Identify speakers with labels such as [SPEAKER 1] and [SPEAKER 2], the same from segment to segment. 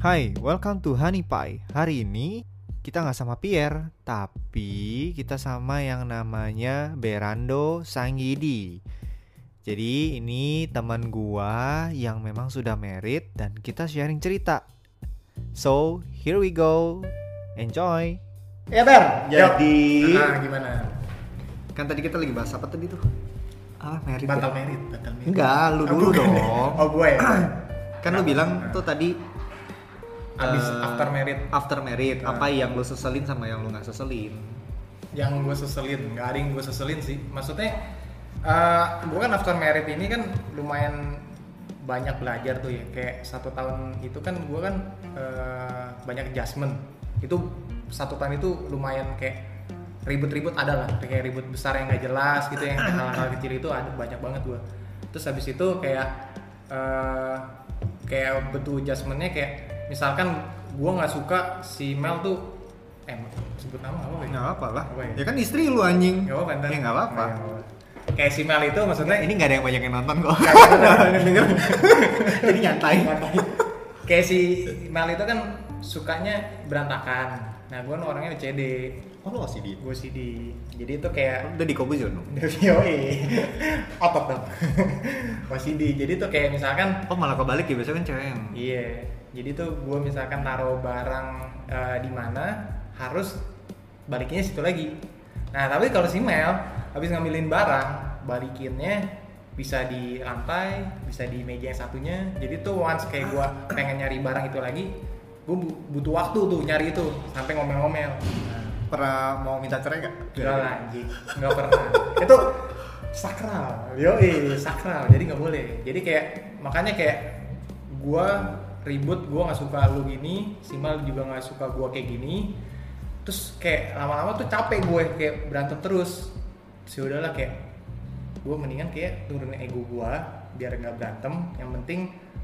[SPEAKER 1] Hai, welcome to Honey Pie. Hari ini kita nggak sama Pierre, tapi kita sama yang namanya Berando Sanggidi. Jadi ini teman gua yang memang sudah merit dan kita sharing cerita. So, here we go. Enjoy.
[SPEAKER 2] Ya Ber, jadi
[SPEAKER 3] Nah, gimana?
[SPEAKER 2] kan tadi kita lagi bahas apa tadi tuh?
[SPEAKER 1] Ah, merit. ya?
[SPEAKER 3] Batal merit, batal merit.
[SPEAKER 2] Enggak, lu
[SPEAKER 3] Oh,
[SPEAKER 2] dulu
[SPEAKER 3] bukan.
[SPEAKER 2] dong.
[SPEAKER 3] Oh, gue. ya?
[SPEAKER 2] Kan lu bilang tuh tadi
[SPEAKER 3] Abis
[SPEAKER 2] eh,
[SPEAKER 3] after merit
[SPEAKER 2] after merit
[SPEAKER 3] Ah.
[SPEAKER 2] apa yang lu seselin sama yang lu nggak seselin?
[SPEAKER 3] yang gue seselin, nggak ada yang gue seselin sih. Maksudnya eh gue kan after merit ini kan lumayan banyak belajar tuh ya. Kayak satu tahun itu kan gue kan eh, banyak adjustment. Itu satu tahun itu lumayan kayak ribut-ribut ada lah kayak ribut besar yang nggak jelas gitu yang hal-hal kecil itu ada banyak banget gue terus habis itu kayak eh, kayak betul adjustmentnya kayak misalkan gue nggak suka si Mel tuh eh sebut nama apa ya?
[SPEAKER 2] Nggak apa lah.
[SPEAKER 3] Apa ya?
[SPEAKER 2] Ya kan istri lu anjing.
[SPEAKER 3] Gak apa-apa ntar.
[SPEAKER 2] Ya nggak apa-apa.
[SPEAKER 3] Nggak Kayak si Mel itu maksudnya
[SPEAKER 2] Ini nggak ada yang banyak yang nonton kok.
[SPEAKER 3] Jadi nyantai Kayak si Mel itu kan sukanya berantakan Nah gue orangnya OCD
[SPEAKER 2] Oh lu masih di.
[SPEAKER 3] Gue CD Jadi itu kayak
[SPEAKER 2] Udah di kobe jono.
[SPEAKER 3] DVOE E. Otot dong OCD Jadi tuh kayak misalkan
[SPEAKER 2] Oh malah kebalik ya biasanya kan cewek yang.
[SPEAKER 3] Iya, jadi tuh gue misalkan taruh barang eh, di mana harus balikinnya situ lagi. Nah tapi kalau si Mel habis ngambilin barang balikinnya bisa di lantai, bisa di meja yang satunya. Jadi tuh once kayak gue pengen nyari barang itu lagi, gue butuh waktu tuh nyari itu sampai ngomel-ngomel.
[SPEAKER 2] Pernah mau minta cerai nggak?
[SPEAKER 3] Enggak lah anjing, enggak pernah. itu sakral. Yoi, sakral. Jadi nggak boleh. Jadi kayak makanya kayak gua ribut, gua nggak suka lu gini, Simal juga nggak suka gua kayak gini. Terus kayak lama-lama tuh capek gue kayak berantem terus. Terus ya udahlah kayak gue mendingan kayak turunin ego gua biar nggak berantem. Yang penting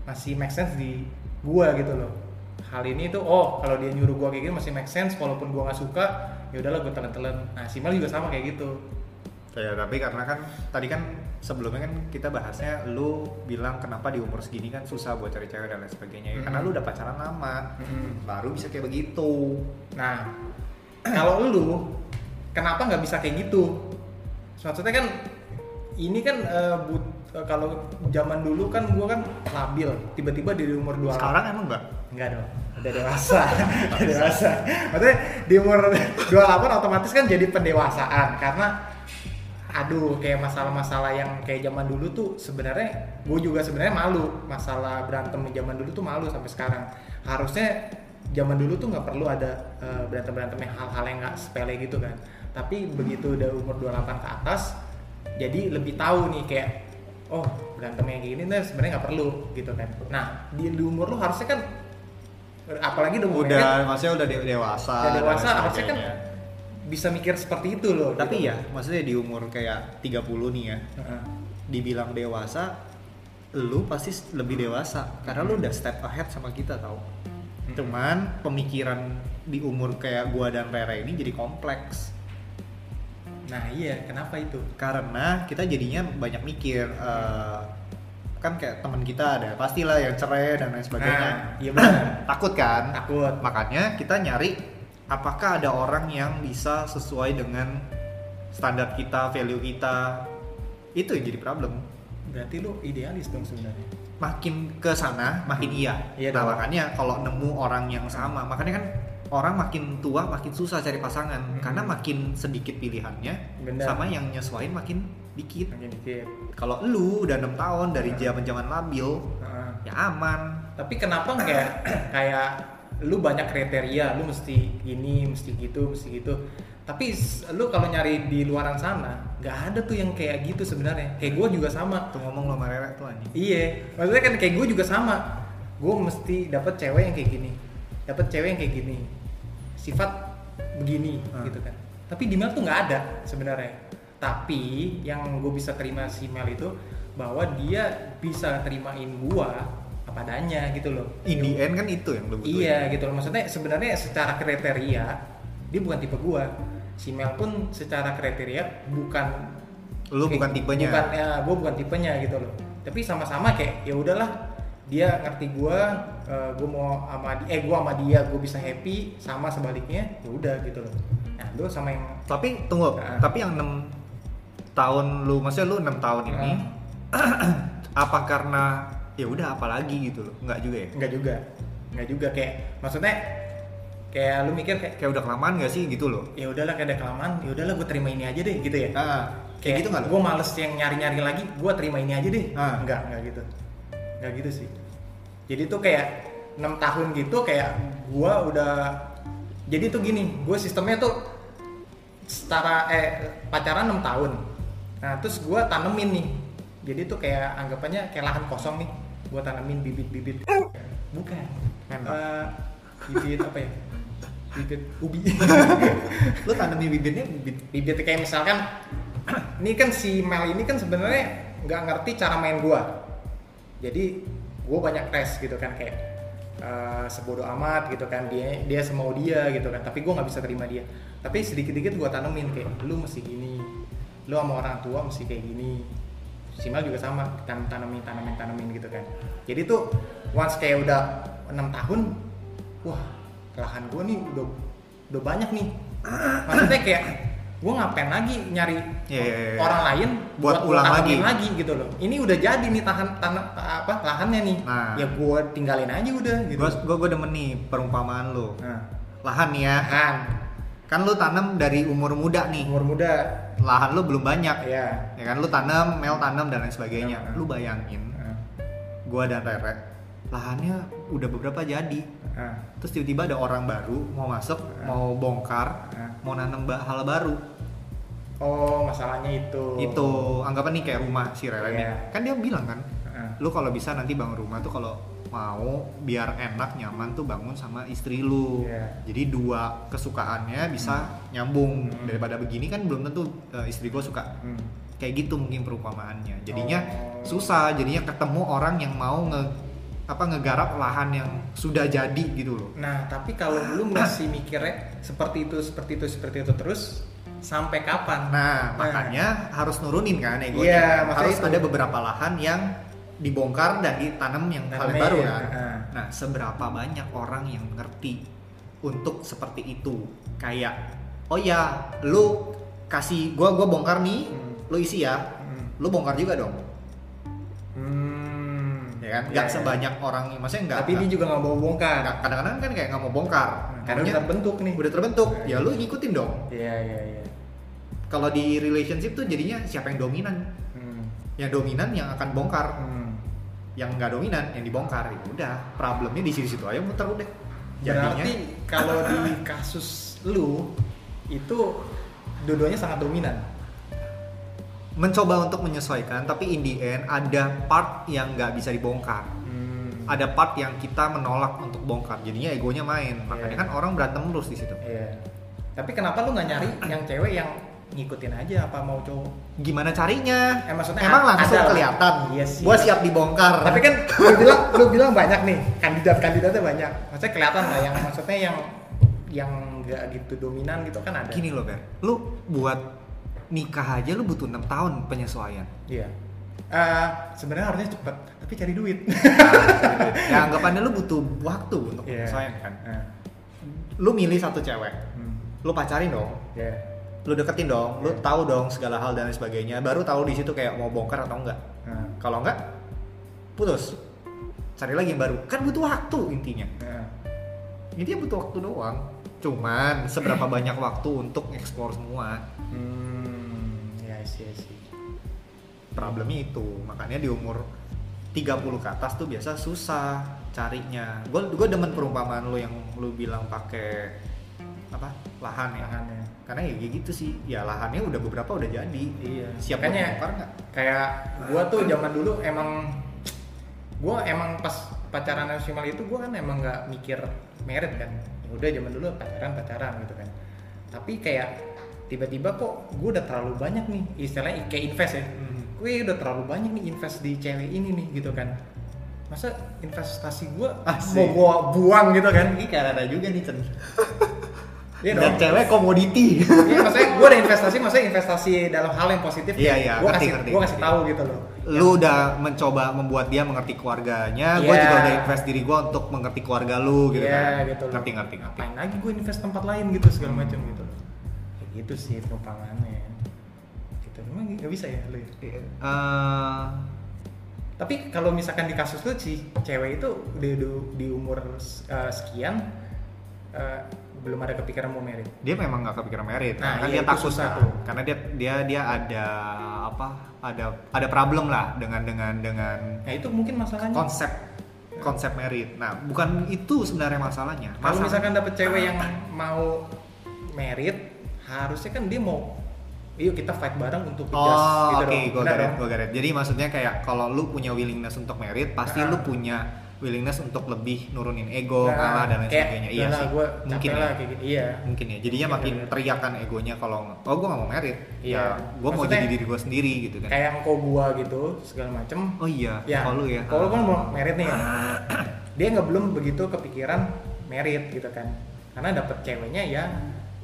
[SPEAKER 3] masih make sense di gua gitu loh. Hal ini tuh oh kalau dia nyuruh gua kayak gini masih make sense walaupun gua nggak suka ya udahlah gue telan-telan. Nah Simal juga sama kayak gitu.
[SPEAKER 2] Ya, tapi karena kan tadi kan sebelumnya kan kita bahasnya lu bilang kenapa di umur segini kan susah buat cari cewek dan lain sebagainya ya, karena lu udah pacaran lama baru bisa kayak begitu
[SPEAKER 3] Nah, kalau lu kenapa nggak bisa kayak gitu? Maksudnya kan ini kan eh, but- eh, kalau zaman dulu kan gua kan labil, tiba-tiba di umur 28
[SPEAKER 2] sekarang emang enggak
[SPEAKER 3] Enggak dong, udah dewasa. udah dewasa. Maksudnya di umur 28 otomatis kan jadi pendewasaan karena aduh kayak masalah-masalah yang kayak zaman dulu tuh sebenarnya gue juga sebenarnya malu masalah berantem di zaman dulu tuh malu sampai sekarang harusnya zaman dulu tuh nggak perlu ada eh, berantem-berantem yang hal-hal yang nggak sepele gitu kan tapi begitu udah umur 28 ke atas jadi lebih tahu nih kayak oh berantem yang kayak gini tuh sebenarnya nggak perlu gitu kan nah di, di umur lu harusnya kan apalagi udah umurnya
[SPEAKER 2] udah
[SPEAKER 3] kan
[SPEAKER 2] maksudnya Iya udah de- dewasa
[SPEAKER 3] udah
[SPEAKER 2] dan
[SPEAKER 3] dewasa
[SPEAKER 2] lain
[SPEAKER 3] harusnya kan
[SPEAKER 2] sebagainya.
[SPEAKER 3] bisa mikir seperti itu loh
[SPEAKER 2] tapi
[SPEAKER 3] gitu.
[SPEAKER 2] ya maksudnya di umur kayak 30 nih ya
[SPEAKER 3] Heeh.
[SPEAKER 2] dibilang dewasa lu pasti lebih dewasa karena lu udah step ahead sama kita tau cuman pemikiran di umur kayak gua dan Rere ini jadi kompleks
[SPEAKER 3] nah iya kenapa itu
[SPEAKER 2] karena kita jadinya banyak mikir eh, kan kayak teman kita ada pastilah yang cerai dan lain sebagainya
[SPEAKER 3] nah iya benar
[SPEAKER 2] takut kan
[SPEAKER 3] takut
[SPEAKER 2] makanya kita nyari apakah ada orang yang bisa sesuai dengan standar kita value kita itu yang jadi problem
[SPEAKER 3] berarti lu idealis dong sebenarnya
[SPEAKER 2] makin ke sana makin iya,
[SPEAKER 3] Iya
[SPEAKER 2] nah
[SPEAKER 3] dong.
[SPEAKER 2] makanya kalau nemu orang yang sama makanya kan orang makin tua makin susah cari pasangan
[SPEAKER 3] Mm-mm.
[SPEAKER 2] karena makin sedikit pilihannya
[SPEAKER 3] Hmm. Benar.
[SPEAKER 2] sama yang nyesuain makin dikit
[SPEAKER 3] makin dikit
[SPEAKER 2] kalau lu udah 6 tahun dari zaman zaman labil
[SPEAKER 3] Heeh.
[SPEAKER 2] ya aman
[SPEAKER 3] tapi kenapa nggak kayak lu banyak kriteria lu mesti ini mesti gitu mesti gitu tapi s- lu kalau nyari di luaran sana nggak ada tuh yang kayak gitu sebenarnya kayak gue juga sama
[SPEAKER 2] tuh ngomong lo sama Rere tuh anjing
[SPEAKER 3] iya maksudnya kan kayak gue juga sama gue mesti dapat cewek yang kayak gini dapat cewek yang kayak gini sifat begini
[SPEAKER 2] Hmm.
[SPEAKER 3] gitu kan tapi di Mel tuh nggak ada sebenarnya tapi yang gue bisa terima si Mel itu bahwa dia bisa terimain gua apa adanya gitu loh
[SPEAKER 2] in the end kan itu yang lu butuhin
[SPEAKER 3] Iya gitu loh. Maksudnya sebenarnya secara kriteria dia bukan tipe gua. Si Mel pun secara kriteria bukan
[SPEAKER 2] lu bukan tipenya
[SPEAKER 3] Bukan ya, gua bukan tipenya gitu loh. Tapi sama-sama kayak ya udahlah dia ngerti gue eh gue mau sama di- eh gue sama dia gue bisa happy sama sebaliknya ya udah gitu loh nah lu sama yang
[SPEAKER 2] Tapi tunggu,
[SPEAKER 3] Nah.
[SPEAKER 2] tapi yang 6 tahun lu, maksudnya lu 6 tahun ini Ya. apa karena ya udah apalagi gitu loh. Enggak juga ya?
[SPEAKER 3] enggak juga enggak juga kayak maksudnya kayak lu mikir kayak
[SPEAKER 2] Kayak udah kelamaan gak sih gitu loh.
[SPEAKER 3] ya udahlah kayak ada kelamaan ya udahlah gue terima ini aja deh gitu ya
[SPEAKER 2] Ah, kayak, gitu enggak
[SPEAKER 3] gue males yang nyari-nyari lagi gue terima ini aja deh
[SPEAKER 2] Ah.
[SPEAKER 3] enggak enggak gitu enggak gitu sih jadi tuh kayak enam tahun gitu kayak gue udah jadi tuh gini gue sistemnya tuh setara eh pacaran 6 tahun nah terus gue tanemin nih jadi tuh kayak anggapannya kayak lahan kosong nih gue tanemin bibit-bibit bukan
[SPEAKER 2] Enak.
[SPEAKER 3] Eh, bibit apa ya bibit ubi
[SPEAKER 2] Lu tanemin bibitnya bibit gitu.
[SPEAKER 3] bibit kayak misalkan ini kan si Mel ini kan sebenarnya nggak ngerti cara main gua jadi gua banyak tes gitu kan kayak eh, sebodoh amat gitu kan dia dia semau dia gitu kan tapi gua nggak bisa terima dia tapi sedikit-sedikit gua tanemin kayak lu mesti gini lu sama orang tua mesti kayak gini si Mel juga sama tan- tanemin tanemin tanemin gitu kan jadi tuh once kayak udah enam tahun wah lahan gua nih udah udah banyak nih maksudnya kayak gua ngapain lagi nyari
[SPEAKER 2] Iya, iya, iya.
[SPEAKER 3] orang lain
[SPEAKER 2] Buat
[SPEAKER 3] gua
[SPEAKER 2] ulang lagi.
[SPEAKER 3] tanemin lagi gitu loh ini udah jadi nih tahan tanah apa lahannya nih
[SPEAKER 2] Nah.
[SPEAKER 3] ya gua tinggalin aja udah gitu
[SPEAKER 2] Gua gua gua demen nih perumpamaan lu.
[SPEAKER 3] nah
[SPEAKER 2] Ah. Lahan nih ya.
[SPEAKER 3] lahan
[SPEAKER 2] Kan lu tanam dari umur muda nih.
[SPEAKER 3] umur muda
[SPEAKER 2] Lahan lu belum banyak.
[SPEAKER 3] ya
[SPEAKER 2] Ya kan lu tanam, Mel tanam dan lain sebagainya. Lu bayangin
[SPEAKER 3] nah,
[SPEAKER 2] gua dan Rere lahannya udah beberapa jadi
[SPEAKER 3] nah,
[SPEAKER 2] terus tiba-tiba ada orang baru mau masuk mau bongkar
[SPEAKER 3] nah.
[SPEAKER 2] mau nanam ba- hal baru
[SPEAKER 3] oh masalahnya itu
[SPEAKER 2] itu anggapan nih kayak rumah si Rere nih
[SPEAKER 3] Iya.
[SPEAKER 2] kan dia bilang kan
[SPEAKER 3] Nah,
[SPEAKER 2] lu kalau bisa nanti bangun rumah tuh kalau mau biar enak nyaman tuh bangun sama istri lu
[SPEAKER 3] Iya.
[SPEAKER 2] jadi dua kesukaannya bisa nyambung
[SPEAKER 3] Hmm.
[SPEAKER 2] daripada begini kan belum tentu eh, istri gue suka
[SPEAKER 3] hmm.
[SPEAKER 2] kayak gitu mungkin perumpamaannya jadinya
[SPEAKER 3] Oh.
[SPEAKER 2] susah jadinya ketemu orang yang mau nge apa ngegarap lahan yang sudah jadi gitu loh
[SPEAKER 3] nah tapi kalau lu masih mikirnya seperti itu seperti itu seperti itu terus sampai kapan
[SPEAKER 2] nah makanya harus nurunin kan egonya
[SPEAKER 3] Eh. Iya,
[SPEAKER 2] kan?
[SPEAKER 3] makanya
[SPEAKER 2] harus
[SPEAKER 3] itu.
[SPEAKER 2] ada beberapa lahan yang dibongkar dan ditanam yang hal yang
[SPEAKER 3] Tanamin,
[SPEAKER 2] baru
[SPEAKER 3] ya.
[SPEAKER 2] kan
[SPEAKER 3] Nah.
[SPEAKER 2] nah seberapa banyak orang yang ngerti untuk seperti itu kayak oh ya lu kasih gua gua bongkar nih
[SPEAKER 3] Hmm.
[SPEAKER 2] lu isi ya
[SPEAKER 3] Hmm.
[SPEAKER 2] lu bongkar juga dong
[SPEAKER 3] Hmm.
[SPEAKER 2] ya kan
[SPEAKER 3] Iya,
[SPEAKER 2] nggak
[SPEAKER 3] iya.
[SPEAKER 2] sebanyak orang maksudnya nggak
[SPEAKER 3] tapi
[SPEAKER 2] nggak-
[SPEAKER 3] dia juga nggak mau bongkar
[SPEAKER 2] Nah, kadang-kadang kan kayak nggak mau bongkar
[SPEAKER 3] karena
[SPEAKER 2] Maunya
[SPEAKER 3] udah terbentuk nih
[SPEAKER 2] udah terbentuk ya lu ngikutin dong
[SPEAKER 3] iya iya iya
[SPEAKER 2] kalau di relationship tuh jadinya siapa yang dominan
[SPEAKER 3] hmm.
[SPEAKER 2] yang dominan yang akan bongkar
[SPEAKER 3] Hmm.
[SPEAKER 2] yang nggak dominan yang dibongkar ya udah problemnya di situ-situ aja muter udah jadinya
[SPEAKER 3] Berarti kalau di kasus lu itu dua-duanya sangat dominan.
[SPEAKER 2] mencoba untuk menyesuaikan tapi in the end ada part yang nggak bisa dibongkar ada part yang kita menolak untuk bongkar jadinya egonya main makanya
[SPEAKER 3] Iya.
[SPEAKER 2] kan orang berantem terus di situ
[SPEAKER 3] Iya. Tapi kenapa lu nggak nyari yang cewek yang ngikutin aja apa mau cowok?
[SPEAKER 2] gimana carinya
[SPEAKER 3] Eh, maksudnya
[SPEAKER 2] emang
[SPEAKER 3] ada-
[SPEAKER 2] langsung
[SPEAKER 3] ada.
[SPEAKER 2] kelihatan
[SPEAKER 3] Iya sih.
[SPEAKER 2] gua siap dibongkar
[SPEAKER 3] Tapi kan lu bilang lu bilang banyak nih kandidat-kandidatnya banyak. Maksudnya kelihatan lah yang maksudnya yang yang nggak gitu dominan gitu kan ada.
[SPEAKER 2] gini loh Ber, lu buat nikah aja lu butuh 6 tahun penyesuaian
[SPEAKER 3] Iya. Eh, sebenarnya harusnya cepet, tapi cari duit.
[SPEAKER 2] ya anggapannya lu butuh waktu untuk
[SPEAKER 3] Iya.
[SPEAKER 2] penyesuaian kan
[SPEAKER 3] Nah,
[SPEAKER 2] lu milih satu cewek
[SPEAKER 3] hmm,
[SPEAKER 2] lu pacarin dong
[SPEAKER 3] Iya.
[SPEAKER 2] lu deketin dong lu tahu dong segala hal dan lain sebagainya baru tahu di situ kayak mau bongkar atau enggak
[SPEAKER 3] Nah,
[SPEAKER 2] kalau enggak putus cari lagi yang baru kan butuh waktu intinya
[SPEAKER 3] nah.
[SPEAKER 2] intinya butuh waktu doang cuman seberapa banyak waktu untuk explore semua
[SPEAKER 3] Hmm, ya sih, sih.
[SPEAKER 2] problemnya itu makanya di umur 30 ke atas tuh biasa susah carinya gue gue demen perumpamaan lo yang lu bilang pakai apa lahan ya
[SPEAKER 3] Lahannya.
[SPEAKER 2] karena ya kayak gitu sih ya lahannya udah beberapa udah jadi
[SPEAKER 3] Iya.
[SPEAKER 2] siap buat
[SPEAKER 3] Makanya-
[SPEAKER 2] bongkar nggak
[SPEAKER 3] Kayak gua tuh zaman dulu emang gua emang pas pacaran nasional itu gua kan emang nggak mikir merit kan. Ya udah zaman dulu pacaran pacaran gitu kan. Tapi kayak tiba-tiba kok gua udah terlalu banyak nih istilahnya kayak invest ya.
[SPEAKER 2] Hmm.
[SPEAKER 3] Gue udah terlalu banyak nih invest di cewek ini nih gitu kan. Masa investasi gua
[SPEAKER 2] Asik.
[SPEAKER 3] mau gua buang gitu kan?
[SPEAKER 2] ini karena juga nih Cen
[SPEAKER 3] Iya
[SPEAKER 2] dan
[SPEAKER 3] dong.
[SPEAKER 2] cewek komoditi
[SPEAKER 3] Iya, maksudnya gue ada investasi, maksudnya investasi dalam hal yang positif.
[SPEAKER 2] Iya,
[SPEAKER 3] kayak
[SPEAKER 2] iya,
[SPEAKER 3] Gue
[SPEAKER 2] ngerti,
[SPEAKER 3] kasih,
[SPEAKER 2] ngerti,
[SPEAKER 3] gue kasih
[SPEAKER 2] ngerti.
[SPEAKER 3] tahu gitu loh.
[SPEAKER 2] lu udah mencoba membuat dia mengerti keluarganya gue
[SPEAKER 3] Iya.
[SPEAKER 2] juga udah invest diri gue untuk mengerti keluarga lu gitu
[SPEAKER 3] Iya,
[SPEAKER 2] kan
[SPEAKER 3] gitu loh.
[SPEAKER 2] ngerti ngerti ngerti
[SPEAKER 3] Ngapain lagi gue invest tempat lain gitu segala macam gitu. loh. Kayak gitu sih perumpamannya. Gitu. Memang nggak bisa ya lu. ya?
[SPEAKER 2] Iya. Eh,
[SPEAKER 3] Tapi kalau misalkan di kasus lu si cewek itu di, di, di umur eh, sekian eh, belum ada kepikiran mau merit.
[SPEAKER 2] dia memang nggak kepikiran merit
[SPEAKER 3] Nah,
[SPEAKER 2] karena
[SPEAKER 3] iya,
[SPEAKER 2] dia
[SPEAKER 3] itu
[SPEAKER 2] takut
[SPEAKER 3] susah
[SPEAKER 2] kan.
[SPEAKER 3] tuh.
[SPEAKER 2] karena dia dia dia ada apa ada ada problem lah dengan dengan dengan
[SPEAKER 3] Nah itu mungkin masalahnya.
[SPEAKER 2] konsep konsep merit nah bukan itu sebenarnya masalahnya
[SPEAKER 3] Kalau
[SPEAKER 2] Masalah-
[SPEAKER 3] misalkan dapet cewek yang mau merit, harusnya kan dia mau, yuk kita fight bareng untuk gas
[SPEAKER 2] Oh,
[SPEAKER 3] gitu
[SPEAKER 2] oke,
[SPEAKER 3] dong.
[SPEAKER 2] gue
[SPEAKER 3] Benar
[SPEAKER 2] garet,
[SPEAKER 3] dong?
[SPEAKER 2] gue garet. Jadi maksudnya kayak kalau lu punya willingness untuk merit, pasti
[SPEAKER 3] Ah.
[SPEAKER 2] lu punya willingness untuk lebih nurunin ego,
[SPEAKER 3] Nah,
[SPEAKER 2] kalah dan lain
[SPEAKER 3] kayak,
[SPEAKER 2] sebagainya.
[SPEAKER 3] "Udah
[SPEAKER 2] Iya
[SPEAKER 3] lah,
[SPEAKER 2] sih,
[SPEAKER 3] Gua
[SPEAKER 2] mungkin
[SPEAKER 3] mungkin
[SPEAKER 2] ya.
[SPEAKER 3] lah kayak gitu. Iya.
[SPEAKER 2] Mungkin ya. Jadinya
[SPEAKER 3] Mungkin
[SPEAKER 2] makin
[SPEAKER 3] bener.
[SPEAKER 2] teriakan egonya kalau oh gue gak mau merit,
[SPEAKER 3] Iya.
[SPEAKER 2] ya gue mau
[SPEAKER 3] Maksudnya,
[SPEAKER 2] jadi diri gue sendiri gitu kan.
[SPEAKER 3] Kayak engkau gua gitu segala macem.
[SPEAKER 2] oh iya,
[SPEAKER 3] Ya.
[SPEAKER 2] kalau lu ya.
[SPEAKER 3] Kalau lu kan mau merit nih. ya. dia nggak belum begitu kepikiran merit gitu kan. Karena dapet ceweknya ya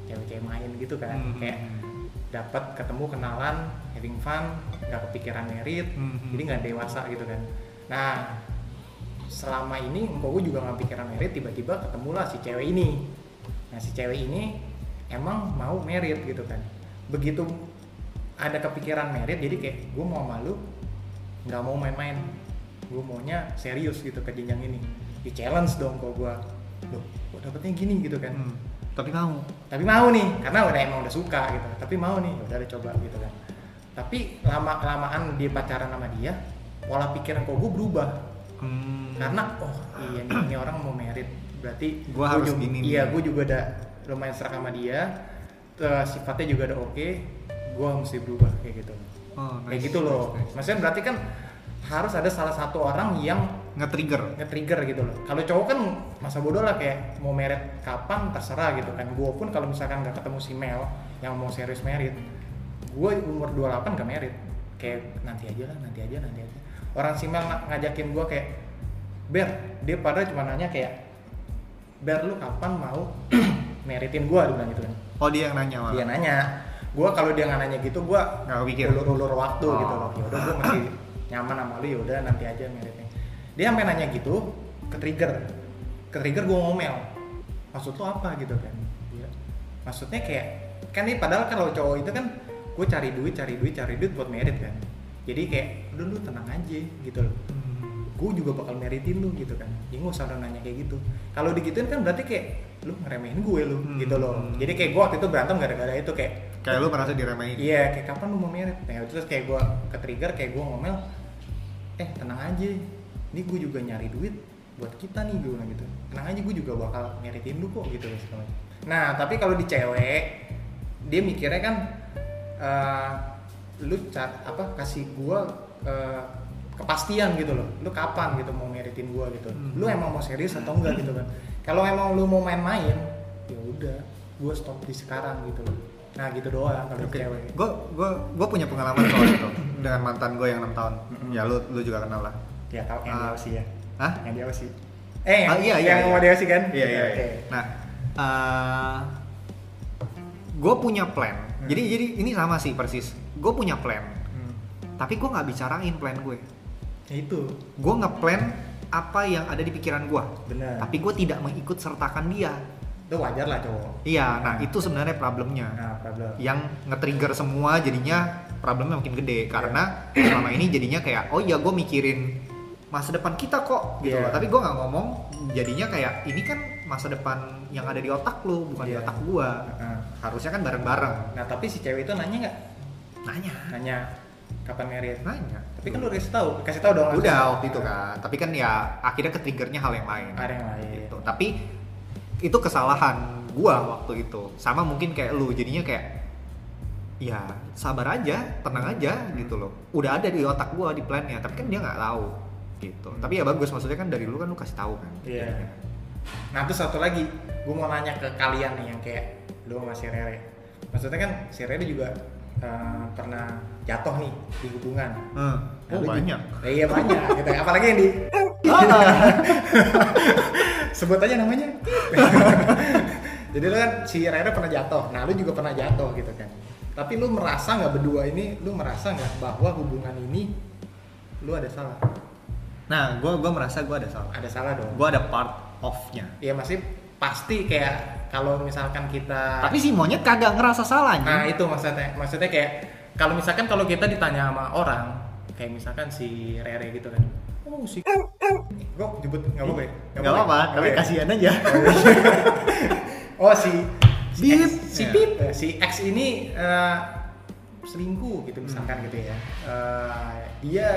[SPEAKER 3] cewek-cewek main gitu kan.
[SPEAKER 2] Hmm,
[SPEAKER 3] Kayak
[SPEAKER 2] hmm,
[SPEAKER 3] dapat ketemu kenalan, having fun, nggak kepikiran merit,
[SPEAKER 2] Mhm.
[SPEAKER 3] jadi nggak dewasa gitu kan. Nah, selama ini engkau gue juga nggak pikiran merit, tiba-tiba ketemulah si cewek ini. Nah, si cewek ini emang mau merit gitu kan. Begitu ada kepikiran merit, jadi kayak gue mau malu, nggak mau main-main. Gue maunya serius gitu ke jenjang ini. Di challenge dong kok gue. Loh, kok dapetnya gini gitu kan
[SPEAKER 2] hmm. Tapi kamu,
[SPEAKER 3] tapi mau nih karena udah emang udah suka gitu tapi mau nih udah udah coba gitu kan tapi lama kelamaan dia pacaran sama dia pola pikiran kok gue berubah
[SPEAKER 2] hmm,
[SPEAKER 3] karena oh iya nih ini orang mau merit berarti
[SPEAKER 2] Gua harus
[SPEAKER 3] juga-
[SPEAKER 2] gini nih.
[SPEAKER 3] iya gue juga udah lumayan serak sama dia Terus sifatnya juga udah oke gue mesti berubah kayak gitu
[SPEAKER 2] oh,
[SPEAKER 3] kayak
[SPEAKER 2] nice,
[SPEAKER 3] gitu
[SPEAKER 2] nice,
[SPEAKER 3] loh
[SPEAKER 2] nice.
[SPEAKER 3] maksudnya berarti kan harus ada salah satu orang yang
[SPEAKER 2] Nge-trigger.
[SPEAKER 3] nge-trigger gitu loh. Kalau cowok kan masa bodoh lah kayak mau merit kapan terserah gitu kan. Gue pun kalau misalkan nggak ketemu si Mel yang mau serius merit, gue umur 28 gak merit. Kayak nanti aja lah, nanti aja, nanti aja. Orang si Mel ng- ngajakin gue kayak, Ber, dia pada cuma nanya kayak, Ber lu kapan mau meritin gue? Dia bilang gitu kan.
[SPEAKER 2] Oh dia yang nanya malah.
[SPEAKER 3] Dia nanya, gue kalau dia nggak nanya gitu gue
[SPEAKER 2] Nggak kepikir.
[SPEAKER 3] ulur-ulur waktu
[SPEAKER 2] Oh.
[SPEAKER 3] gitu loh ya udah gue masih nyaman sama lu ya udah nanti aja meritnya dia sampai nanya gitu ke trigger ke trigger gue ngomel maksud lo apa gitu kan Dia, maksudnya kayak kan ini padahal kalau cowok itu kan gue cari duit cari duit cari duit buat merit kan jadi kayak udah lu tenang aja gitu loh
[SPEAKER 2] Hmm.
[SPEAKER 3] gue juga bakal meritin lu gitu kan ya nggak usah lo nanya kayak gitu kalau digituin kan berarti kayak lu ngeremehin gue lu
[SPEAKER 2] Hmm.
[SPEAKER 3] gitu loh jadi kayak gue waktu itu berantem gara-gara itu kayak
[SPEAKER 2] Kayak lu merasa diremehin.
[SPEAKER 3] Iya, kayak kapan lu mau merit? Nah, terus kayak gua ke trigger kayak gua ngomel, eh tenang aja, ini gue juga nyari duit buat kita nih gue bilang gitu. Tenang aja gue juga bakal meritin lu kok gitu loh segala macam. Nah, tapi kalau di cewek, dia mikirnya kan eh, lu ca- apa kasih gua eh, kepastian gitu loh. Lu kapan gitu mau meritin gua gitu.
[SPEAKER 2] Hmm.
[SPEAKER 3] Lu emang mau serius atau enggak gitu kan. Kalau emang lu mau main-main, ya udah, gua stop di sekarang gitu loh. Nah, gitu doang kalau di cewek.
[SPEAKER 2] Gue gue gue punya pengalaman soal itu dengan mantan gue yang enam tahun. Ya lu lu juga kenal lah.
[SPEAKER 3] Ya tahu yang
[SPEAKER 2] Ah.
[SPEAKER 3] dia sih ya.
[SPEAKER 2] Hah?
[SPEAKER 3] Yang dia sih. Eh,
[SPEAKER 2] Ah, iya, iya,
[SPEAKER 3] yang
[SPEAKER 2] iya.
[SPEAKER 3] sama dia sih kan?
[SPEAKER 2] Iya iya.
[SPEAKER 3] Oke.
[SPEAKER 2] iya. Nah, gue punya plan. Jadi jadi ini sama sih persis. Gue punya plan,
[SPEAKER 3] Hmm.
[SPEAKER 2] tapi gue nggak bicarain plan gue.
[SPEAKER 3] Ya itu
[SPEAKER 2] Gue ngeplan apa yang ada di pikiran gue.
[SPEAKER 3] benar.
[SPEAKER 2] Tapi gue tidak mengikut sertakan dia.
[SPEAKER 3] itu wajar lah cowok.
[SPEAKER 2] Iya. Nah itu sebenarnya problemnya.
[SPEAKER 3] Nah, problem.
[SPEAKER 2] yang nge-trigger semua jadinya problemnya makin gede karena
[SPEAKER 3] Iya.
[SPEAKER 2] selama ini jadinya kayak oh iya gue mikirin masa depan kita kok gitu
[SPEAKER 3] Iya.
[SPEAKER 2] loh tapi gue nggak ngomong jadinya kayak ini kan masa depan yang ada di otak lu bukan di
[SPEAKER 3] Iya.
[SPEAKER 2] otak gua
[SPEAKER 3] Heeh.
[SPEAKER 2] harusnya kan bareng-bareng
[SPEAKER 3] Nah, tapi si cewek itu nanya nggak?
[SPEAKER 2] nanya
[SPEAKER 3] Nanya kapan merit?
[SPEAKER 2] nanya
[SPEAKER 3] Tapi kan lu udah kasih tahu, kasih tahu dong.
[SPEAKER 2] udah
[SPEAKER 3] langsung.
[SPEAKER 2] waktu itu kan tapi kan ya akhirnya ke-triggernya hal yang lain
[SPEAKER 3] Ada yang lain.
[SPEAKER 2] gitu tapi itu kesalahan gua waktu itu sama mungkin kayak lu jadinya kayak ya sabar aja tenang aja gitu loh udah ada di otak gua di plannya tapi kan dia nggak tahu gitu tapi ya bagus maksudnya kan dari lu kan lu kasih tahu kan
[SPEAKER 3] Iya. Nah, terus satu lagi, gue mau nanya ke kalian nih yang kayak lu sama si Rere. Maksudnya kan si Rere juga eh, pernah jatuh nih di hubungan.
[SPEAKER 2] Hmm.
[SPEAKER 3] Nah,
[SPEAKER 2] Oh,
[SPEAKER 3] lu
[SPEAKER 2] banyak
[SPEAKER 3] juga- iya banyak. gitu. Apalagi yang di sebut aja namanya. Jadi lu kan si Rere pernah jatuh, nah lu juga pernah jatuh gitu kan. Tapi lu merasa nggak berdua ini, lu merasa nggak bahwa hubungan ini lu ada salah,
[SPEAKER 2] Nah, gue gua merasa gue ada salah.
[SPEAKER 3] ada salah dong.
[SPEAKER 2] Gue ada part of-nya.
[SPEAKER 3] Ya masih pasti kayak kalau misalkan kita
[SPEAKER 2] Tapi si monyet kagak ngerasa
[SPEAKER 3] Nah
[SPEAKER 2] salahnya.
[SPEAKER 3] itu maksudnya, maksudnya kayak kalau misalkan kalau kita ditanya sama orang, kayak misalkan si Rere gitu kan. Oh si gue nyebut nggak apa-apa ya?
[SPEAKER 2] Gak apa-apa, tapi
[SPEAKER 3] Nggak apa-apa ya?
[SPEAKER 2] kasihan aja.
[SPEAKER 3] Oh si si
[SPEAKER 2] Bip,
[SPEAKER 3] X-
[SPEAKER 2] si
[SPEAKER 3] ya,
[SPEAKER 2] Bip.
[SPEAKER 3] ya, si X ini eh, selingkuh gitu misalkan gitu ya. Eh, dia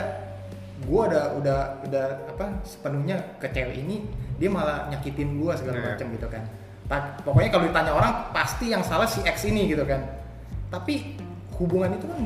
[SPEAKER 3] gue udah udah udah apa sepenuhnya ke cewek ini dia malah nyakitin gue segala
[SPEAKER 2] Iya.
[SPEAKER 3] macam gitu kan. Pa- pokoknya kalau ditanya orang pasti yang salah si X ini gitu kan. Tapi hubungan itu kan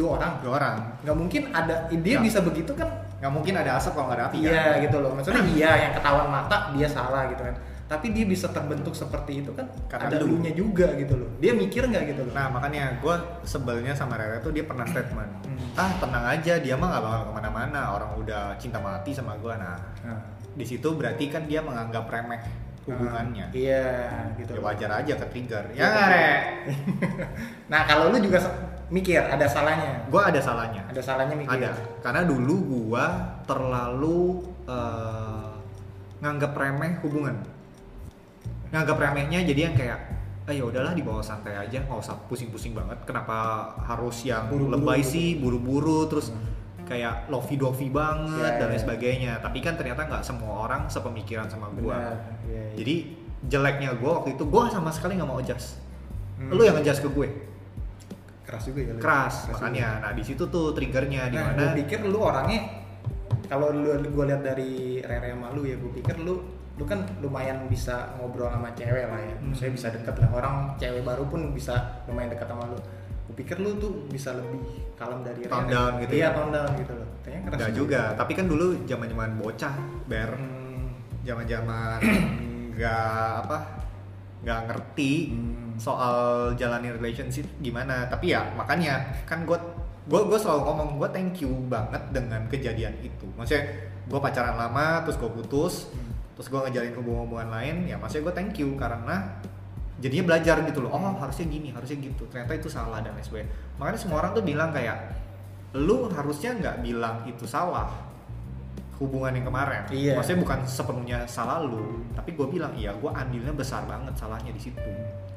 [SPEAKER 3] dua orang.
[SPEAKER 2] Dua orang.
[SPEAKER 3] Gak mungkin ada dia
[SPEAKER 2] Ya.
[SPEAKER 3] bisa begitu kan
[SPEAKER 2] Gak mungkin ada asap kalau nggak ada api.
[SPEAKER 3] Iya
[SPEAKER 2] kan?
[SPEAKER 3] gitu loh. Maksudnya iya yang ketahuan mata dia salah gitu kan. Tapi dia bisa terbentuk seperti itu kan
[SPEAKER 2] Karena
[SPEAKER 3] ada
[SPEAKER 2] lu.
[SPEAKER 3] dulunya juga gitu loh. Dia mikir nggak gitu loh.
[SPEAKER 2] Nah makanya gue sebelnya sama Rere tuh dia pernah statement
[SPEAKER 3] Hmm.
[SPEAKER 2] Ah tenang aja dia mah gak bakal kemana-mana Orang udah cinta mati sama gue Nah
[SPEAKER 3] Nah,
[SPEAKER 2] di situ berarti kan dia menganggap remeh hubungannya
[SPEAKER 3] Iya
[SPEAKER 2] Ya
[SPEAKER 3] gitu. loh.
[SPEAKER 2] wajar aja ke trigger
[SPEAKER 3] Iya,
[SPEAKER 2] Ya gak Re?
[SPEAKER 3] Nah kalau lu juga se- mikir ada salahnya.
[SPEAKER 2] Gue ada salahnya
[SPEAKER 3] Ada salahnya mikir.
[SPEAKER 2] Ada Karena dulu gue terlalu eh, nganggap remeh hubungan Nganggap remehnya jadi yang kayak Ah ya udahlah dibawa santai aja, nggak usah pusing-pusing banget. Kenapa harus yang
[SPEAKER 3] Buru-buru,
[SPEAKER 2] lebay
[SPEAKER 3] gitu. Hmm.
[SPEAKER 2] sih, buru-buru terus kayak lovey dovey banget
[SPEAKER 3] Ya,
[SPEAKER 2] dan lain
[SPEAKER 3] ya.
[SPEAKER 2] sebagainya. Tapi kan ternyata nggak semua orang sepemikiran sama gua.
[SPEAKER 3] Benar. Iya, iya.
[SPEAKER 2] Jadi jeleknya gua waktu itu gua sama sekali nggak mau adjust.
[SPEAKER 3] Hmm.
[SPEAKER 2] Lu yang adjust ke gue
[SPEAKER 3] keras juga ya. lu.
[SPEAKER 2] keras,
[SPEAKER 3] juga.
[SPEAKER 2] makanya. Nah di situ tuh triggernya di
[SPEAKER 3] Nah,
[SPEAKER 2] mana?
[SPEAKER 3] gue pikir lu orangnya kalau lu gue lihat dari Rere sama lu ya gue pikir lu lu kan lumayan bisa ngobrol sama cewek lah ya
[SPEAKER 2] Hmm.
[SPEAKER 3] saya bisa deket lah orang cewek baru pun bisa lumayan deket sama lu gue pikir lu tuh bisa lebih kalem dari
[SPEAKER 2] Calm
[SPEAKER 3] Rere.
[SPEAKER 2] down gitu
[SPEAKER 3] iya
[SPEAKER 2] ya?
[SPEAKER 3] calm down gitu loh kayaknya keras
[SPEAKER 2] Enggak juga, tapi kan dulu zaman zaman bocah, ber
[SPEAKER 3] Hmm,
[SPEAKER 2] zaman zaman nggak apa nggak ngerti
[SPEAKER 3] Hmm.
[SPEAKER 2] soal jalani relationship gimana tapi ya makanya kan gue gue selalu ngomong gue thank you banget dengan kejadian itu maksudnya gue pacaran lama terus gue putus
[SPEAKER 3] Hmm.
[SPEAKER 2] terus gue ngejalin hubungan-hubungan lain ya maksudnya gue thank you karena jadinya belajar gitu loh oh harusnya gini harusnya gitu ternyata itu salah dan lain sebagainya makanya semua orang tuh bilang kayak lu harusnya nggak bilang itu salah hubungan yang kemarin
[SPEAKER 3] Iya.
[SPEAKER 2] maksudnya bukan sepenuhnya salah lu tapi gue bilang iya gue andilnya besar banget salahnya di situ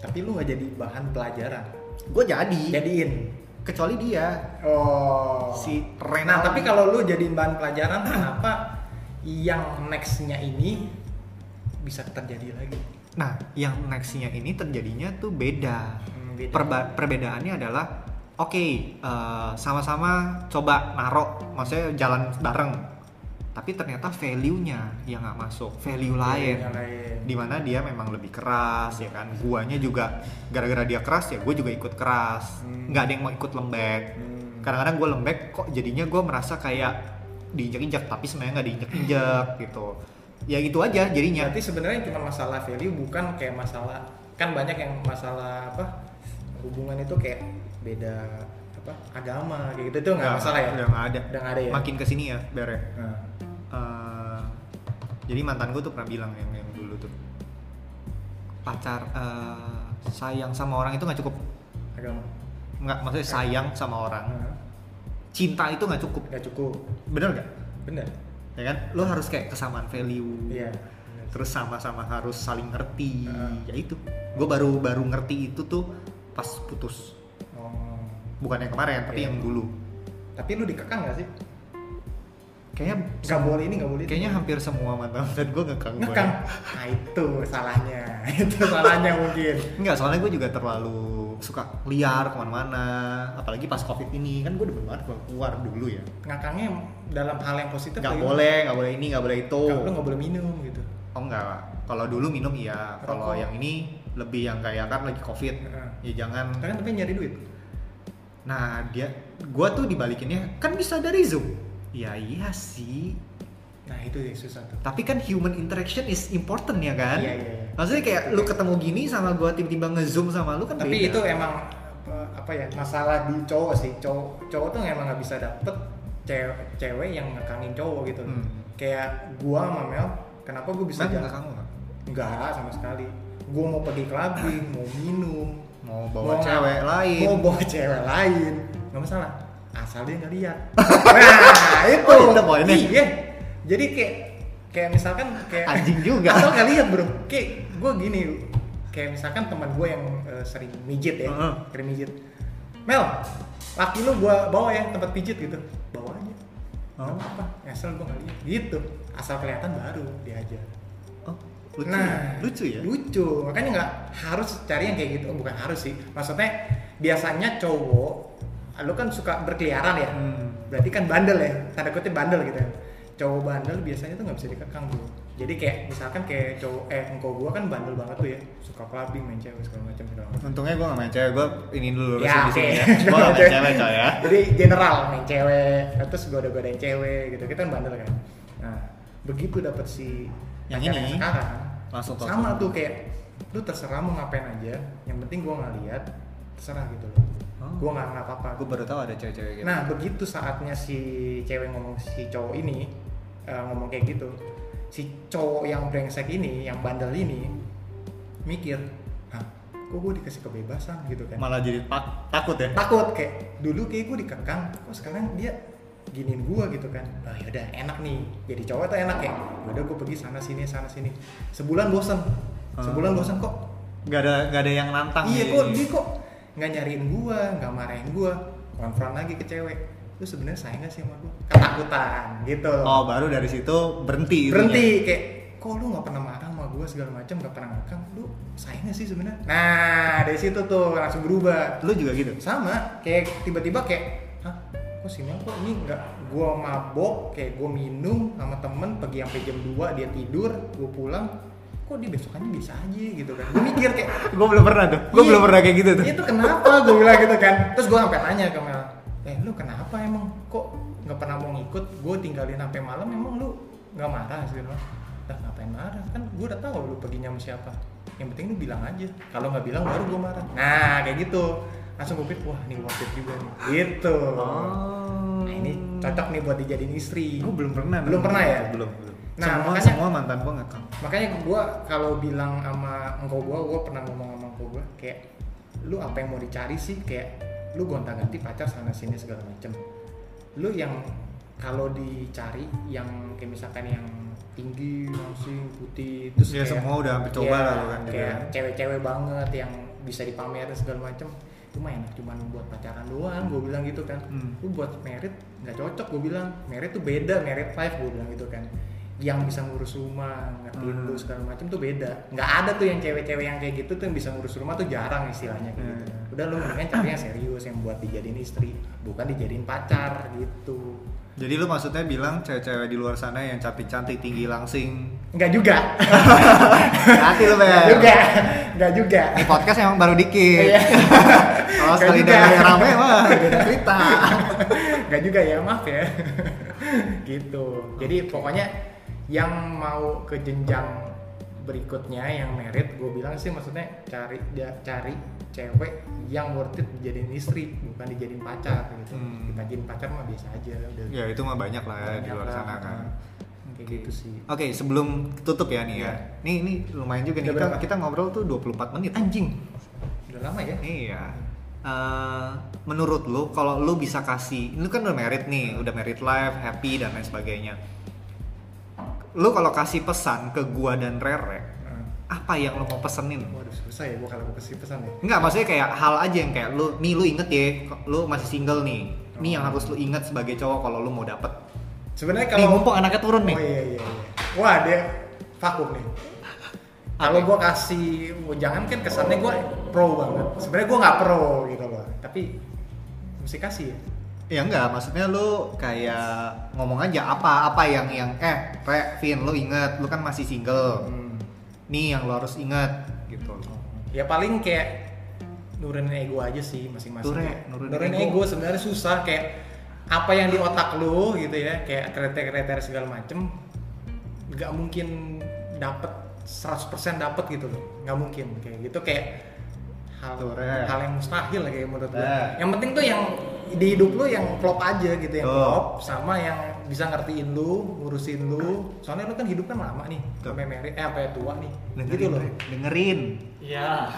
[SPEAKER 3] tapi lu nggak jadi bahan pelajaran
[SPEAKER 2] gue jadi
[SPEAKER 3] jadiin
[SPEAKER 2] kecuali dia
[SPEAKER 3] oh
[SPEAKER 2] si
[SPEAKER 3] Nah,
[SPEAKER 2] Renal
[SPEAKER 3] tapi kalau lu jadiin bahan pelajaran, kenapa yang nextnya ini bisa terjadi lagi?
[SPEAKER 2] nah yang nextnya ini terjadinya tuh beda
[SPEAKER 3] Hmm, beda.
[SPEAKER 2] Perba- perbedaannya adalah oke eh, sama-sama coba narok maksudnya jalan bareng tapi ternyata value-nya yang nggak masuk value lain
[SPEAKER 3] Yang lain.
[SPEAKER 2] dimana dia memang lebih keras ya kan guanya juga gara-gara dia keras ya gue juga ikut keras
[SPEAKER 3] Hmm.
[SPEAKER 2] nggak ada yang mau ikut lembek
[SPEAKER 3] Hmm.
[SPEAKER 2] kadang-kadang gue lembek kok jadinya gue merasa kayak diinjak-injak tapi sebenarnya nggak diinjak-injak gitu ya gitu aja jadinya
[SPEAKER 3] Berarti sebenarnya cuma masalah value bukan kayak masalah kan banyak yang masalah apa hubungan itu kayak beda apa agama kayak gitu itu nggak masalah ya?
[SPEAKER 2] udah nggak ada
[SPEAKER 3] Udah nggak ada ya?
[SPEAKER 2] makin kesini ya bere
[SPEAKER 3] Nah,
[SPEAKER 2] Eh, jadi mantan gue tuh pernah bilang yang yang dulu tuh pacar eh, sayang sama orang itu nggak cukup
[SPEAKER 3] agama
[SPEAKER 2] nggak maksudnya sayang sama orang
[SPEAKER 3] Nah,
[SPEAKER 2] cinta itu nggak cukup
[SPEAKER 3] nggak cukup
[SPEAKER 2] bener nggak
[SPEAKER 3] bener?
[SPEAKER 2] ya kan lo harus kayak kesamaan value
[SPEAKER 3] Iya.
[SPEAKER 2] terus sama-sama harus saling ngerti
[SPEAKER 3] Heeh.
[SPEAKER 2] ya itu gue baru baru ngerti itu tuh pas putus
[SPEAKER 3] Oh.
[SPEAKER 2] bukan yang kemarin tapi
[SPEAKER 3] Iya.
[SPEAKER 2] yang dulu
[SPEAKER 3] Tapi lu dikekang nggak sih?
[SPEAKER 2] kayaknya
[SPEAKER 3] Gak boleh ini nggak boleh. itu.
[SPEAKER 2] kayaknya hampir semua mantan mantan gue ngekang ya. gue
[SPEAKER 3] ngekang nah itu salahnya itu salahnya mungkin
[SPEAKER 2] Enggak, soalnya gue juga terlalu suka liar kemana-mana apalagi pas covid ini kan gue demen banget keluar, keluar dulu ya
[SPEAKER 3] ngakangnya dalam hal yang positif
[SPEAKER 2] nggak
[SPEAKER 3] lagi.
[SPEAKER 2] boleh nggak boleh ini nggak boleh itu
[SPEAKER 3] Nggak- lu nggak boleh minum gitu
[SPEAKER 2] oh enggak kalau dulu minum iya kalau
[SPEAKER 3] Rokok.
[SPEAKER 2] yang ini lebih yang kayak kan lagi covid
[SPEAKER 3] Heeh.
[SPEAKER 2] ya jangan
[SPEAKER 3] kan tapi nyari duit
[SPEAKER 2] Nah dia, gua tuh dibalikinnya kan bisa dari zoom. Ya iya sih,
[SPEAKER 3] nah itu yang susah tuh
[SPEAKER 2] tapi kan human interaction is important ya kan?
[SPEAKER 3] Iya, iya, iya.
[SPEAKER 2] Maksudnya kayak lu ketemu gini sama gua tiba-tiba ngezoom sama lu kan
[SPEAKER 3] tapi
[SPEAKER 2] beda.
[SPEAKER 3] itu emang apa, apa ya masalah di cowok sih cowok cowok tuh emang nggak bisa dapet cewek cewek yang ngakangin cowok gitu loh.
[SPEAKER 2] Hmm.
[SPEAKER 3] kayak gua sama Mel kenapa gua bisa
[SPEAKER 2] Mel nggak
[SPEAKER 3] jalan
[SPEAKER 2] kamu nggak?
[SPEAKER 3] nggak sama sekali gue mau pergi clubbing mau minum
[SPEAKER 2] mau bawa
[SPEAKER 3] Mau-
[SPEAKER 2] cewek lain
[SPEAKER 3] mau bawa cewek lain nggak masalah asal dia nggak lihat nah itu
[SPEAKER 2] Oh, itu poinnya.
[SPEAKER 3] iya jadi kayak kayak misalkan kayak
[SPEAKER 2] anjing juga
[SPEAKER 3] asal nggak lihat bro kayak gue gini kayak misalkan teman gue yang eh, sering mijit ya
[SPEAKER 2] Heeh.
[SPEAKER 3] sering mijit Mel laki lu gue bawa ya tempat pijit gitu bawa aja
[SPEAKER 2] Oh.
[SPEAKER 3] apa asal gue nggak lihat gitu asal kelihatan baru dia aja
[SPEAKER 2] oh, lucu ya?
[SPEAKER 3] nah
[SPEAKER 2] lucu ya
[SPEAKER 3] lucu makanya nggak harus cari yang kayak gitu Oh, bukan harus sih maksudnya biasanya cowok lu kan suka berkeliaran ya
[SPEAKER 2] Hmm.
[SPEAKER 3] berarti kan bandel ya tanda kutip bandel gitu kan cowok bandel biasanya tuh nggak bisa dikekang bro jadi kayak misalkan kayak cowok eh engkau gua kan bandel banget tuh ya suka clubbing main cewek segala macam segala macam
[SPEAKER 2] untungnya gue gak main cewek gue ini dulu lurusin
[SPEAKER 3] Ya,
[SPEAKER 2] di sini
[SPEAKER 3] oke.
[SPEAKER 2] ya gue gak main cewek coy ya
[SPEAKER 3] jadi general main cewek terus goda-godain cewek gitu kita kan bandel kan nah begitu dapat si
[SPEAKER 2] Yang
[SPEAKER 3] pacar
[SPEAKER 2] ini,
[SPEAKER 3] sekarang
[SPEAKER 2] langsung ke-
[SPEAKER 3] sama tuh kayak lu terserah mau ngapain aja yang penting gua nggak lihat terserah gitu loh
[SPEAKER 2] Oh.
[SPEAKER 3] gua nggak nggak apa-apa
[SPEAKER 2] gue baru tahu ada cewek-cewek gitu
[SPEAKER 3] Nah, begitu saatnya si cewek ngomong si cowok ini eh, ngomong kayak gitu, si cowok yang brengsek ini, yang bandel ini mikir, "Hah, kok gue dikasih kebebasan gitu kan?"
[SPEAKER 2] malah jadi tak- takut ya
[SPEAKER 3] Takut kayak dulu kayak gue dikekang, kok sekarang dia giniin gua gitu kan. Oh yaudah enak nih. Jadi cowok tuh enak ya. Udah gue pergi sana sini sana sini. Sebulan bosen. Sebulan bosen kok
[SPEAKER 2] gak ada gak ada yang nantang gitu. di-
[SPEAKER 3] iya kok dia kok nggak nyariin gua nggak marahin gua konfront lagi ke cewek lu sebenarnya sayang gak sih sama gua ketakutan gitu loh
[SPEAKER 2] oh iya, baru dari situ berhenti itunya.
[SPEAKER 3] berhenti kayak kok lu nggak pernah marah sama gua segala macam nggak pernah ngekang lu sayang gak sih sebenarnya nah dari situ tuh langsung berubah
[SPEAKER 2] lu juga gitu
[SPEAKER 3] Iya, sama kayak tiba-tiba kayak hah kok sini kok ini nggak gua mabok kayak gua minum sama temen pergi sampai jam 2 dia tidur gua pulang kok dia besokannya bisa aja gitu kan gua mikir kayak
[SPEAKER 2] gue belum pernah tuh gue
[SPEAKER 3] Iya.
[SPEAKER 2] belum pernah kayak gitu tuh
[SPEAKER 3] itu kenapa gue bilang gitu kan terus gue sampai nanya ke Mel eh lu kenapa emang kok nggak pernah mau ngikut gue tinggalin sampai malam emang lu nggak marah sih lo lah ngapain marah kan gue udah tahu lu perginya sama siapa yang penting lu bilang aja kalau nggak bilang baru gue marah nah kayak gitu langsung gue pikir wah ini worth it juga nih gitu
[SPEAKER 2] oh
[SPEAKER 3] nah ini cocok nih buat dijadiin istri
[SPEAKER 2] gue belum pernah
[SPEAKER 3] Belum pernah ya?
[SPEAKER 2] belum belum
[SPEAKER 3] Nah,
[SPEAKER 2] semua
[SPEAKER 3] makanya-
[SPEAKER 2] semua mantan gue ngekang
[SPEAKER 3] makanya gue kalau bilang sama engkau gue gue pernah ngomong sama engkau gue kayak lu apa yang mau dicari sih kayak lu gonta ganti pacar sana sini segala macem lu yang kalau dicari yang kayak misalkan yang tinggi langsing putih terus
[SPEAKER 2] Ya,
[SPEAKER 3] kayak-
[SPEAKER 2] semua udah coba
[SPEAKER 3] Iya,
[SPEAKER 2] lah lu kan juga.
[SPEAKER 3] kayak cewek-cewek banget yang bisa dipamerin segala macem itu mah enak cuman buat pacaran doang gue bilang gitu kan
[SPEAKER 2] Hmm.
[SPEAKER 3] lu buat merit nggak cocok gue bilang merit tuh beda merit life gue bilang gitu kan yang bisa ngurus rumah ngertiin
[SPEAKER 2] Hmm.
[SPEAKER 3] lu segala macem tuh beda nggak ada tuh yang cewek-cewek yang kayak gitu tuh yang bisa ngurus rumah tuh jarang istilahnya kayak gitu
[SPEAKER 2] Hmm.
[SPEAKER 3] udah lu mendingan cari yang serius yang buat dijadiin istri bukan dijadiin pacar gitu
[SPEAKER 2] jadi lu maksudnya bilang cewek-cewek di luar sana yang cantik-cantik tinggi langsing
[SPEAKER 3] nggak juga
[SPEAKER 2] hati lu
[SPEAKER 3] nggak
[SPEAKER 2] bel
[SPEAKER 3] juga nggak juga
[SPEAKER 2] Ini podcast emang baru dikit.
[SPEAKER 3] Iya.
[SPEAKER 2] Kalau Oh, sekali
[SPEAKER 3] Nggak juga.
[SPEAKER 2] udah rame mah beda cerita.
[SPEAKER 3] Gak juga ya, maaf ya. gitu. Jadi pokoknya yang mau ke jenjang berikutnya yang merit gue bilang sih maksudnya cari dia cari cewek yang worth it dijadiin istri bukan dijadiin pacar gitu
[SPEAKER 2] Hmm.
[SPEAKER 3] dijadiin pacar mah biasa aja udah
[SPEAKER 2] Ya itu mah banyak lah ya di
[SPEAKER 3] Banyak
[SPEAKER 2] luar
[SPEAKER 3] lah.
[SPEAKER 2] sana kan.
[SPEAKER 3] kayak gitu sih
[SPEAKER 2] Oke, sebelum tutup ya nih ya.
[SPEAKER 3] Iya.
[SPEAKER 2] Nih ini lumayan juga nih
[SPEAKER 3] Udah
[SPEAKER 2] kita,
[SPEAKER 3] berapa?
[SPEAKER 2] kita ngobrol tuh 24 menit anjing.
[SPEAKER 3] udah lama ya
[SPEAKER 2] Iya. Eh, menurut lu kalau lu bisa kasih, lu kan udah married nih, udah married life, happy dan lain sebagainya. Lu kalau kasih pesan ke gua dan Rere,
[SPEAKER 3] Nah,
[SPEAKER 2] apa yang lu mau pesenin?
[SPEAKER 3] waduh susah ya gue kalau gue kasih pesan ya
[SPEAKER 2] Enggak, maksudnya kayak hal aja yang kayak lu, nih lu inget ya, lu masih single nih. Nih yang harus lu inget sebagai cowok kalau lu mau dapet. nih
[SPEAKER 3] sebenarnya kalau
[SPEAKER 2] mumpung anaknya turun nih.
[SPEAKER 3] Oh iya iya iya. Wah dia vakum nih. Kalau gua kasih, oh, jangan kan kesannya gua pro banget. Sebenarnya gua nggak pro gitu loh. Tapi mesti kasih ya.
[SPEAKER 2] Ya enggak, maksudnya lu kayak ngomong aja apa apa yang yang eh, Re, Vin, lu inget, lu kan masih
[SPEAKER 3] Hmm.
[SPEAKER 2] single. Nih yang lu harus inget gitu.
[SPEAKER 3] Ya paling kayak nurunin ego aja sih masing-masing.
[SPEAKER 2] Nure-
[SPEAKER 3] ya.
[SPEAKER 2] nurunin
[SPEAKER 3] nurunin,
[SPEAKER 2] ego.
[SPEAKER 3] ego, sebenarnya susah kayak apa yang di otak lu gitu ya, kayak kriteria-kriteria segala macem nggak mungkin dapet 100% dapet gitu loh. nggak mungkin kayak gitu kayak hal
[SPEAKER 2] Tuh, Re.
[SPEAKER 3] hal yang mustahil kayak menurut gue.
[SPEAKER 2] Nah.
[SPEAKER 3] Yang penting tuh yang di hidup lu yang klop aja gitu yang
[SPEAKER 2] Tuh.
[SPEAKER 3] klop sama yang bisa ngertiin lu, ngurusin lu. Soalnya lu kan hidup kan lama nih, sampai merit, eh sampai tua nih. gitu loh.
[SPEAKER 2] Bre. dengerin
[SPEAKER 4] Iya.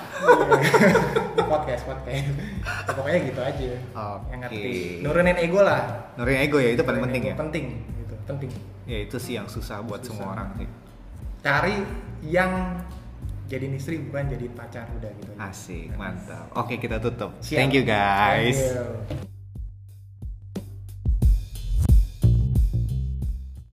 [SPEAKER 3] podcast podcast. Ya, Pokoknya gitu aja.
[SPEAKER 2] Oke.
[SPEAKER 3] Yang ngerti. Nurunin ego lah.
[SPEAKER 2] nurin ego ya itu paling
[SPEAKER 3] Nurunin
[SPEAKER 2] penting
[SPEAKER 3] ego.
[SPEAKER 2] ya
[SPEAKER 3] Penting gitu, penting.
[SPEAKER 2] ya itu sih yang susah buat
[SPEAKER 3] Susah.
[SPEAKER 2] semua orang sih
[SPEAKER 3] Cari yang jadi istri bukan jadi pacar udah gitu. aja.
[SPEAKER 2] asik mantap oke kita tutup
[SPEAKER 3] Siap.
[SPEAKER 2] thank you guys
[SPEAKER 3] Thank you.